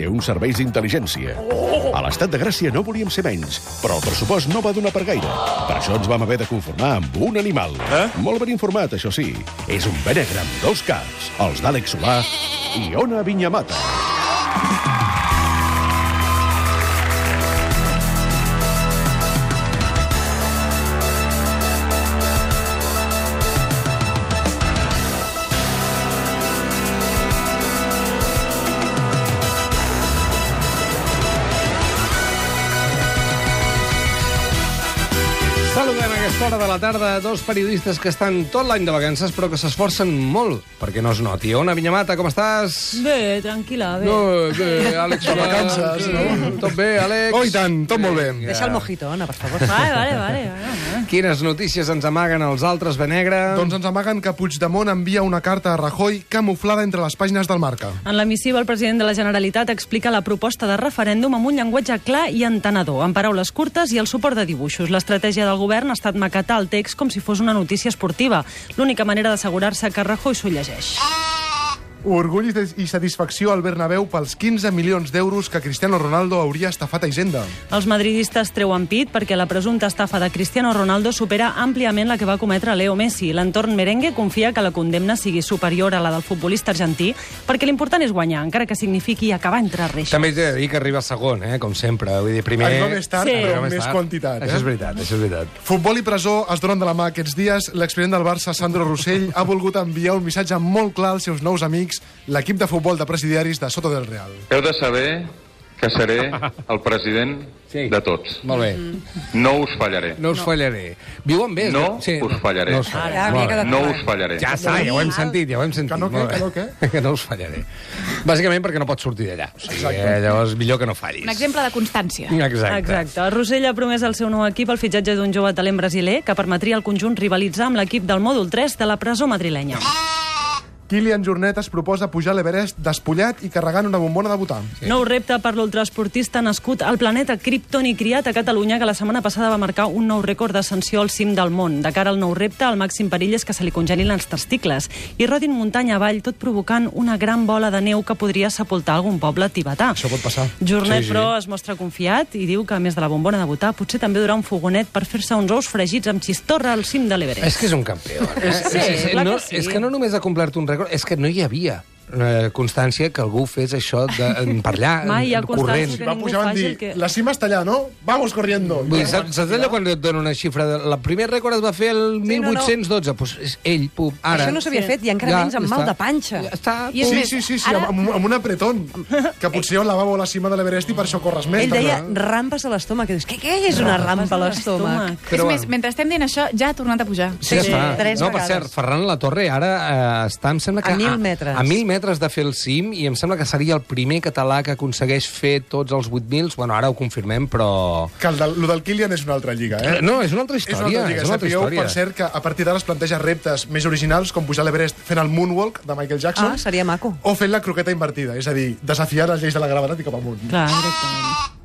té uns serveis d'intel·ligència. A l'estat de Gràcia no volíem ser menys, però el pressupost no va donar per gaire. Per això ens vam haver de conformar amb un animal. Eh? Molt ben informat, això sí. És un benegre amb dos caps, els d'Àlex Solà i Ona Vinyamata. Saludem a aquesta hora de la tarda a dos periodistes que estan tot l'any de vacances però que s'esforcen molt perquè no es noti. Ona Vinyamata, com estàs? Bé, tranquil·la, bé. No, bé, Àlex. De Oh, vacances, no? Tot bé, Àlex? Oh, i tant, tot molt bé. Vinga. Deixa el mojito, Anna, per favor. Vale, vale, vale. vale. Quines notícies ens amaguen els altres, Benegre? eh? Doncs ens amaguen que Puigdemont envia una carta a Rajoy camuflada entre les pàgines del Marca. En la missiva, el president de la Generalitat explica la proposta de referèndum amb un llenguatge clar i entenedor, amb paraules curtes i el suport de dibuixos. L'estratègia del govern ha estat maquetar el text com si fos una notícia esportiva, l'única manera d'assegurar-se que Rajoy s'ho llegeix. Orgull i des- i satisfacció al Bernabéu pels 15 milions d'euros que Cristiano Ronaldo hauria estafat a Hisenda. Els madridistes treuen pit perquè la presumpta estafa de Cristiano Ronaldo supera àmpliament la que va cometre Leo Messi. L'entorn merengue confia que la condemna sigui superior a la del futbolista argentí perquè l'important és guanyar, encara que signifiqui acabar entre reixes. També t'he de dir que arriba segon, eh, com sempre. Vull dir, primer... Arriba més tard, Sí. però Arriba amb més tard. quantitat. Això és Eh? veritat, això és veritat. Futbol i presó es donen de la mà aquests dies. L'expresident del Barça, Sandro Rossell, ha volgut enviar un missatge molt clar als seus nous amics, l'equip de futbol de presidiaris de Soto del Real. Heu de saber que seré el president Sí. de tots. Molt bé, No us fallaré. no us fallaré. Viu amb més? No us fallaré. No us fallaré. Ara, havia Molt bé. quedat No clar. eh? us fallaré. Ja està, ja ho hem sentit, ja ho hem sentit. Que no què, molt bé. que no què? Que no us fallaré. Bàsicament perquè no pots sortir d'allà. O sigui, Exacte. eh, llavors, millor que no fallis. Un exemple de constància. Exacte. Exacte. Exacte. Rossell ha promès al seu nou equip el fitxatge d'un jove talent brasiler que permetria al conjunt rivalitzar amb l'equip del mòdul 3 de la presó madrilenya. Kilian Jornet es proposa pujar a l'Everest despullat i carregant una bombona de butà. Nou repte per l'ultraesportista nascut al planeta Krypton i criat a Catalunya que la setmana passada va marcar un nou rècord d'ascensió al cim del món. De cara al nou repte, el màxim perill és que se li congelin els testicles i rodin muntanya avall, tot provocant una gran bola de neu que podria sepultar algun poble tibetà. Això pot passar. Jornet, Sí, sí. però, es mostra confiat i diu que, a més de la bombona de votar, potser també durà un fogonet per fer-se uns ous fregits amb xistorra al cim de l'Everest. És que és un campió. Eh? Sí, és, és, clar no, que sí. és que no només ha complert un rècord, és que no hi havia eh, constància que algú fes això de, en- per allà, en- Mai hi ha corrent. constància Que Va ningú pujar van faci dir, el que- la cima està allà, no? Vamos corriendo. Vull dir, saps, saps allò quan et donen una xifra? De, la primer rècord es va fer el Sí, no, no. 1812. Pues Doncs és ell, pum, ara. Això no s'havia fet i encara menys amb mal de panxa. Ja està, I és Sí, pum. més, sí, sí, sí ara- ara... amb, amb un apretón, que potser el lavabo a la cima de l'Everest i per això corres més. Ell deia també. eh? rampes a l'estómac. I Dius, què, què és una rampa a l'estómac? Però és més, mentre estem dient això, ja ha tornat a pujar. Sí, ja Sí, està. tres no, per vegades. cert, Ferran La Torre ara eh, està, em sembla que... A mil metres. A, a mil metres de fer el cim i em sembla que seria el primer català que aconsegueix fer tots els 8.000. Bueno, ara ho confirmem, però... Que el del, lo del Kilian és una altra lliga, eh? No, és una altra És una història. altra lliga. és una altra Sapigueu, història. per cert, que a partir d'ara es planteja reptes més originals, com pujar a l'Everest fent el moonwalk de Michael Jackson. Ah, seria maco. O fent la croqueta invertida, és a dir, desafiar les lleis de la gravetat i cap amunt. Clar, directament.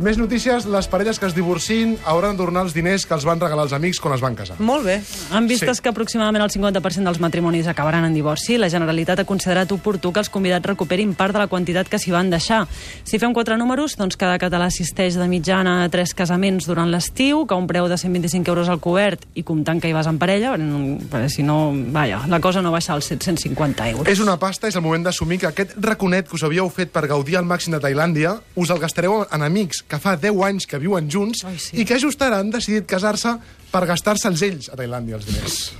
Més notícies, les parelles que es divorcin hauran de tornar els diners que els van regalar els amics quan es van casar. Molt bé. En vistes Sí. que aproximadament el 50% dels matrimonis acabaran en divorci, la Generalitat ha considerat oportú que els convidats recuperin part de la quantitat que s'hi van deixar. Si fem quatre números, doncs cada català assisteix de mitjana a tres casaments durant l'estiu, que a un preu de 125 euros al cobert i comptant que hi vas en parella, mm, perquè si no, vaja, la cosa no baixa als 750 euros. És una pasta, és el moment d'assumir que aquest raconet que us havíeu fet per gaudir al màxim de Tailàndia us el gastareu en amics que fa 10 anys que viuen junts Ai, sí. i que just ara han decidit casar-se per gastar-se'ls ells a Tailàndia, els diners.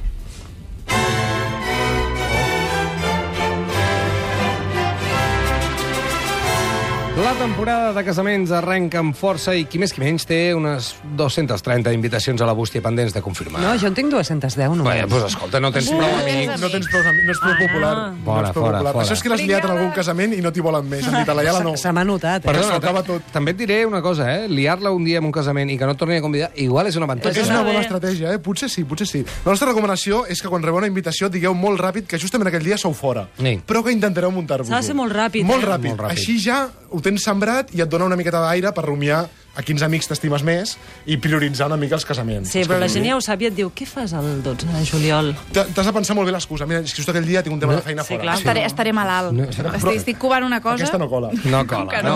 La temporada de casaments arrenca amb força i qui més qui menys té unes 230 invitacions a la bústia pendents de confirmar. No, jo en tinc 210 només. Vaja, doncs escolta, no tens prou amics. No tens prou, ami- no ets prou popular. no Ah. Fora, ets prou fora, popular. fora. Això és que l'has liat en algun casament i no t'hi volen més. Han dit a la Iala no. Se m'ha notat, eh? Perdó. s'ho acaba tot. ta- també et diré una cosa, eh? Liar-la un dia en un casament i que no et torni a convidar, igual és una avantatge. És una bona bé. estratègia, eh? Potser sí, potser sí. La nostra recomanació és que quan rebeu una invitació digueu molt ràpid que justament aquell dia sou fora. Sí. Però que intentareu muntar-vos-ho. S'ha de ser molt ràpid, Molt eh? ràpid. Molt ràpid. Així ja ho tens sembrat i et dona una miqueta d'aire per rumiar a quins amics t'estimes més i prioritzar una mica els casaments. Sí, Els però la casaments. gent ja ho sap i et diu, què fas el 12 de juliol? T'ha- T'has de pensar molt bé l'excusa. Mira, és que just aquell dia tinc un Mm. tema de feina Sí, fora. clar. Estaré, estaré malalt. No, estaré, estic, estic covant una cosa. Aquesta no cola. No cola. No,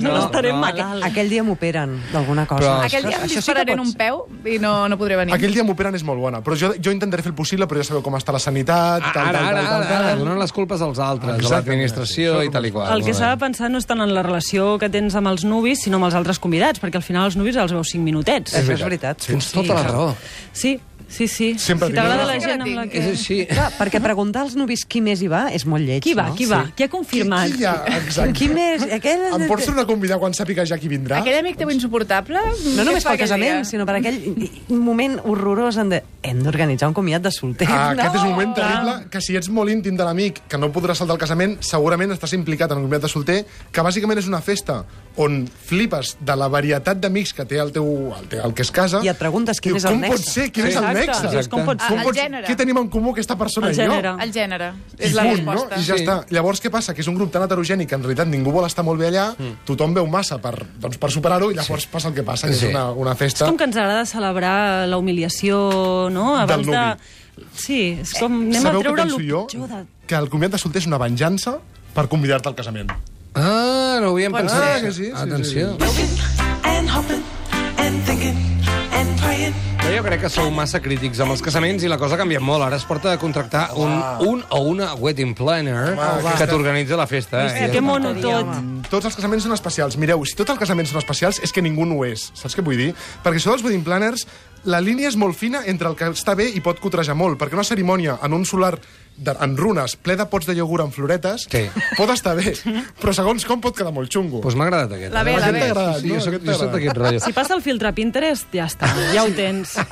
no, no estaré malalt. Aquell dia m'operen d'alguna cosa. Però- Aquell dia em Ah, Això sí que dispararan pot un ser. peu i no, no podré venir. Aquell dia m'operen és molt bona, però jo, jo intentaré fer el possible, però ja sabeu com està la sanitat, Ah, Ara, tal, tal, ara, tal, tal, ara, ara, tal. donant les culpes als altres, a Exacte. l'administració i tal i qual. El que eh? s'ha de pensar no és tant en la relació que tens amb els nuvis, sinó amb els altres convidats, perquè al final els nuvis els veus 5 minutets. Això és veritat. Tens tota la raó. Sí, sí, sí. Sempre si tinc t'agrada raó. la gent amb la que... És així. Clar, perquè preguntar als novis qui més hi va és molt lleig, Qui va, no? qui va? Qui ha confirmat? Qui, qui hi ha? Exacte. Qui més? Aquell... Em pots tornar a convidar quan sàpiga ja qui vindrà? Aquell amic teu inssuportable? No què només fa pel aquell casament, dia? sinó per aquell moment horrorós en de... Hem d'organitzar un comiat de solter. Ah, no? Aquest és un moment terrible que si ets molt íntim de l'amic que no podràs saltar el casament, segurament estàs implicat en un comiat de solter, que bàsicament és una festa on flipes de la varietat d'amics que té el teu, el, teu, el que es casa. I et preguntes quin Diu, és el Com nexe?" pot ser? Quin és el Ah, Exacte. nexe? Dius, com pot ser? Com El pot gènere. Què tenim en comú aquesta persona El i jo? gènere. El gènere. I És la punt, no? resposta. I ja està. Llavors, què passa? Que és un grup tan heterogeni que en realitat ningú vol estar molt bé allà, tothom veu massa per, doncs, per superar-ho i llavors passa el que passa, que Mm. Sí. és una, una És festa... com que ens agrada celebrar la humiliació, no? Abans Del nuvi. Eh, de... Sí, és com anem Sabeu a què treure penso el jo? pitjor de... Que el comiat de solter és una venjança per convidar-te al casament. Ah, no ho havíem Pot pensat. ser. Ah, que sí, sí, Atenció. sí, and hopping and thinking and praying. Però jo crec que sou massa crítics amb els casaments i la cosa ha canviat molt. Ara es porta a contractar un, un o una wedding planner que t'organitza la festa. Eh, eh? Hòstia, Eh, que mono tot. Tots els casaments són especials. Mireu, si tots els casaments són especials, és que ningú no ho és. Saps què vull dir? Perquè això dels wedding planners, la línia és molt fina entre el que està bé i pot cotrejar molt, perquè una cerimònia en un solar de, en runes, ple de pots de iogurt amb floretes, Sí. pot estar bé, però segons com pot quedar molt xungo. Doncs m'ha agradat aquest. La eh? bé, la Aquest bé. t'ha agradat, Sí, Ah, no? jo soc, Aquest jo soc t'agrada. d'aquest rotllo. Si passa el filtre Pinterest, ja està, ja ho tens.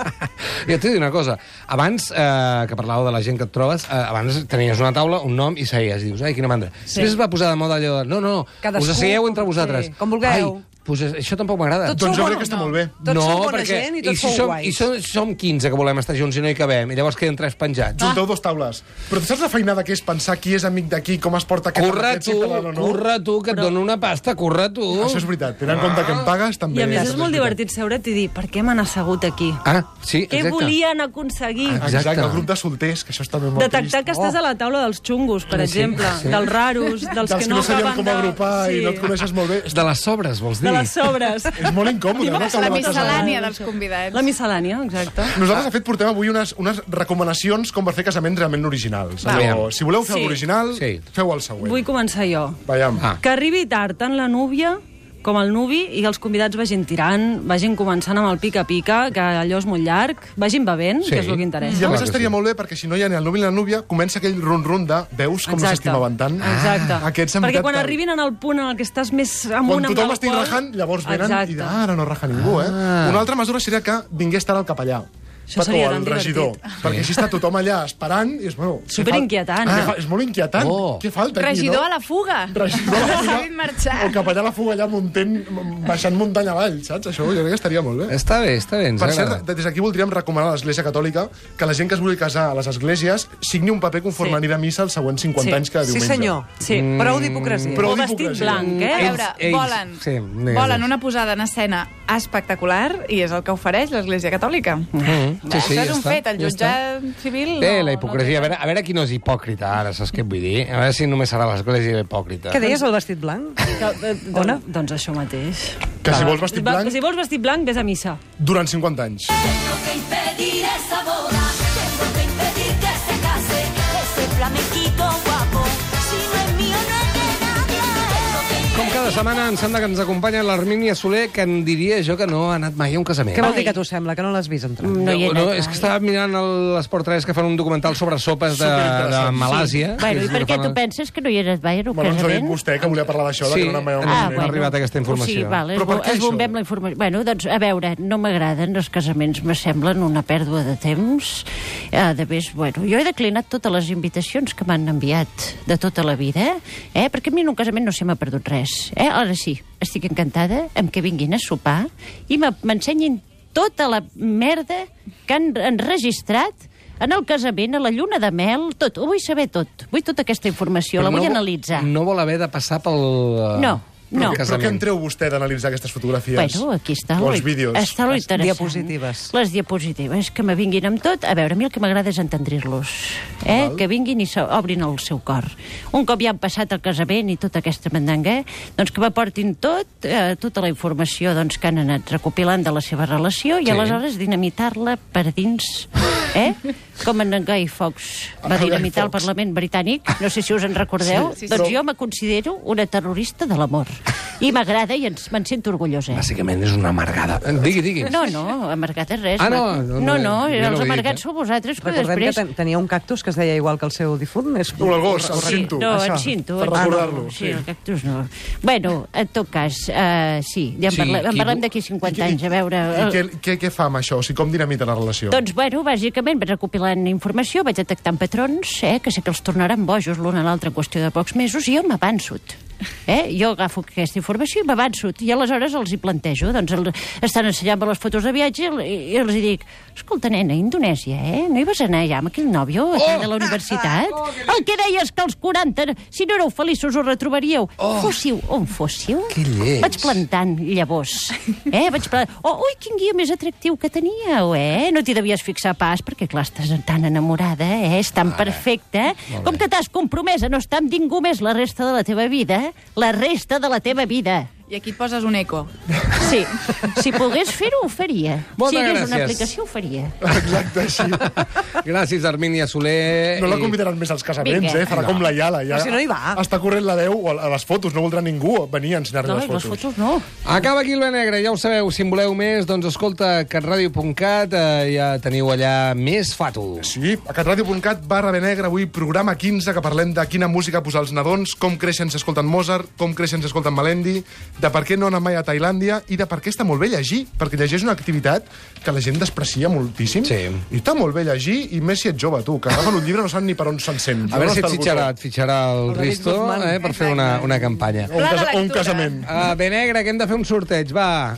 Jo t'he de dir una cosa. Abans, eh, que parlàveu de la gent que et trobes, eh, abans tenies una taula, un nom i seies. Dius, ai, quina mandra. Sí. Després es va posar de moda allò de, no, no, Cadascú, us asseieu entre vosaltres. sí, com vulgueu. Ai, pues això tampoc m'agrada. Tots Doncs jo sou crec que bons, està no? molt bé. Tots no, som bona perquè, gent i i tots si sou som, guais. I som, som 15 que volem estar junts i no hi cabem, i llavors queden tres penjats. Junteu dos taules. Però tu saps la feinada que és pensar qui és amic d'aquí, com es porta aquest... Corre aquest, tu, si tal o corre tu, que et dono una pasta, corre tu. Això és veritat. Tenint en compte que em pagues, també... I a més és molt veritat. divertit seure't i dir, per què m'han assegut aquí? Ah, sí, Què exacte. volien aconseguir? Exacte. Exacte. el grup de solters, que això està molt Detectar trist. que estàs a la taula dels xungos, per exemple, dels raros, dels, dels que no, sabien acaben com de- agrupar i no et coneixes molt bé. De les sobres, vols dir? De les sobres. És molt incòmode, no? La acabar casant. miscel·lània dels convidats. La miscel·lània, exacte. Nosaltres, de fet, portem avui unes, unes recomanacions com per fer casaments realment originals. Va. Allò, si voleu fer Sí. sí. original, sí. Sí. feu el següent. Vull començar jo. Veiem. Ah. Que arribi tard tant la núvia com el nuvi i els convidats vagin tirant, vagin començant amb el pica-pica, que allò és molt llarg, vagin bevent, Sí. que és el que I interessa. a Clar més que estaria sí. molt bé perquè si no hi ha ni el nuvi ni la núvia, comença aquell run-run de veus com no s'estimaven tant. Exacte. Aquests s'han Perquè ficat quan tant. arribin en el punt en el que estàs més amunt... Quan amb tothom l'alcohol- estigui rajant, llavors venen Exacte. i diran, ah, ara no raja ningú, eh? Ah. Una altra mesura seria que vingués tard el capellà. Això seria o el tan regidor. divertit. Perquè així està tothom allà esperant i és, bueno... què Superinquietant. fa- Ah. què fa- És molt inquietant. Oh. Què falta aquí, Regidor no? a la fuga. Regidor a la fuga. Sabin marxar. O capellà a la fuga allà muntent, baixant muntanya avall, saps? Això jo crec que estaria molt bé. Està bé, està bé, ens Per agrada. cert, des d'aquí voldríem recomanar a l'Església Catòlica que la gent que es vulgui casar a les esglésies signi un paper conforme Sí. sí. anirà a missa els següents 50 Sí. anys cada Sí, diumenge. Mm, senyor. Sí. Prou d'hipocresia. Prou O vestit d'hipocresia. blanc, A eh? veure, ells- volen, sí, digues, volen digues. una posada en escena espectacular i és el que ofereix l'Església Catòlica. Mm, sí, sí, Això ja és un està, fet, el ja jutjat civil... Bé, no- la hipocresia. A veure, a veure qui no és hipòcrita, ara, saps què et vull dir? A veure si només serà l'església hipòcrita. Què deies, el vestit blanc? Que, Ona? Doncs això mateix. Que si vols vestit Va, blanc, Si vols vestit blanc, vés a missa. durant 50 anys. Tengo que impedir esa boda, tengo que impedir que se case ese flamenquito guapo. Si no es mío, no es de nadie. Tengo que Com cada setmana em sembla que ens acompanya l'Armínia Soler, que en diria jo que no ha anat mai a un casament. Què vol dir que t'ho sembla, que no l'has vist entrar? No, no, és que estava mirant el- l'Esport 3 que fan un documental sobre sopes de, de Superinteressant. Malàsia. Bueno, que i és el per que què fan- tu penses que no hi eres mai en un Bueno, ens ho ha dit casament? vostè, que volia parlar d'això, de Sí, que no anava mai a un ens- casament. ha arribat aquesta informació. Ah, Sí, val, Però es, per bo, què es això? bombem la informació. Bueno, doncs, a veure, no m'agraden els casaments, me semblen una pèrdua de temps. A més, bueno, jo he declinat totes les invitacions que m'han enviat de tota la vida, eh? perquè a mi en un casament no se m'ha perdut res. Eh? Ara sí, estic encantada amb que vinguin a sopar i me- m'ensenyin tota la merda que han enregistrat en el casament, a la lluna de mel, tot. Ho vull saber tot. Vull tota aquesta informació, Però la vull no, vo- analitzar. No vol haver de passar eh, pel... No, No. Però, però què en treu vostè d'analitzar aquestes fotografies? Bueno, aquí està. lo- O els vídeos. Està lo Les interessant. diapositives. Les diapositives, que me vinguin amb tot. A veure, a mi el que m'agrada és entendrir-los. Eh? Que vinguin i s'obrin el seu cor. Un cop ja han passat el casament i tota aquesta mandanga, eh, doncs que m'aportin tot, eh, tota la informació doncs, que han anat recopilant de la seva relació i Sí. sí. aleshores dinamitar-la per dins. Eh? Com en Guy Fawkes va Guy dinamitar el Fawkes. Parlament britànic, no sé si us en recordeu, Sí, sí, sí. doncs Però- jo me considero una terrorista de l'amor. I m'agrada i ens, me'n sento orgullosa. Bàsicament és una amargada. Digui, digui. No, no, amargat és res. Ah, no, no, no, no, no, jo no ho els dic, amargats eh? sou vosaltres, que Recordem després... que ten tenia un cactus que es deia igual que el seu difunt. És... O el gos, el Sí, cinto. No, Això, en cinto. per en cinto. recordar-lo, Sí, sí. el cactus no. Bueno, en tot cas, uh, sí, ja en, Sí, sí, parlem, qui- en parlem d'aquí 50 anys, a veure... I què, què, què fa amb això? O sigui, com dinamita la relació? Doncs, bueno, bàsicament, vaig recopilant informació, vaig detectant patrons, eh, que sé que els tornaran bojos l'un a l'altre en qüestió de pocs mesos, i jo m'avanço. Eh? Jo agafo aquesta informació i m'avanço. I aleshores els hi plantejo. Doncs el, estan ensenyant-me les fotos de viatge i, i els hi dic, escolta, nena, a Indonèsia, eh? No hi vas anar allà amb aquell nòvio oh! de la universitat? Oh, el que deies que als 40, si no éreu feliços, us retrobaríeu. Oh. Fóssiu on fóssiu. Que lleig. Vaig plantant llavors. Eh? Vaig plantant... Oh, ui, quin guia més atractiu que teníeu, eh? No t'hi devies fixar pas, perquè, clar, estàs tan enamorada, eh? És tan perfecta. Com que t'has compromès a no estar amb ningú més la resta de la teva vida, la resta de la teva vida. I aquí et poses un eco. Sí, si pogués fer-ho, ho faria. Moltes si hi hagués gràcies. una aplicació, ho faria. Exacte, així. Gràcies, Armínia Soler. No la i- convidaran més als casaments, Vinga. eh? Farà No. com la Iala. Ja Però si no hi va. Està corrent la veu o a les fotos. No voldrà ningú venir a ensenyar-li No, les i les fotos. fotos no. Acaba aquí el Benegra, ja ho sabeu. Si en voleu més, doncs escolta, catradio.cat, eh, ja teniu allà més fato. Sí, a catradio.cat barra Benegre, avui programa 15, que parlem de quina música posar els nadons, com creixen si escolten Mozart, com creixen si escolten Melendi, de per què no anar mai a Tailàndia i de per què està molt bé llegir, perquè llegir és una activitat que la gent desprecia moltíssim. Sí. I està molt bé llegir, i més si ets jove, tu, que agafen un llibre no saben ni per on s'encén. A veure si et Està el fitxarà, et fitxarà el El David Risto Guzmán. eh, per fer una, una campanya. Ah, botó. O un, Pla de casa, o un lectura. casament. Uh, Benegra, que hem de fer un sorteig, va.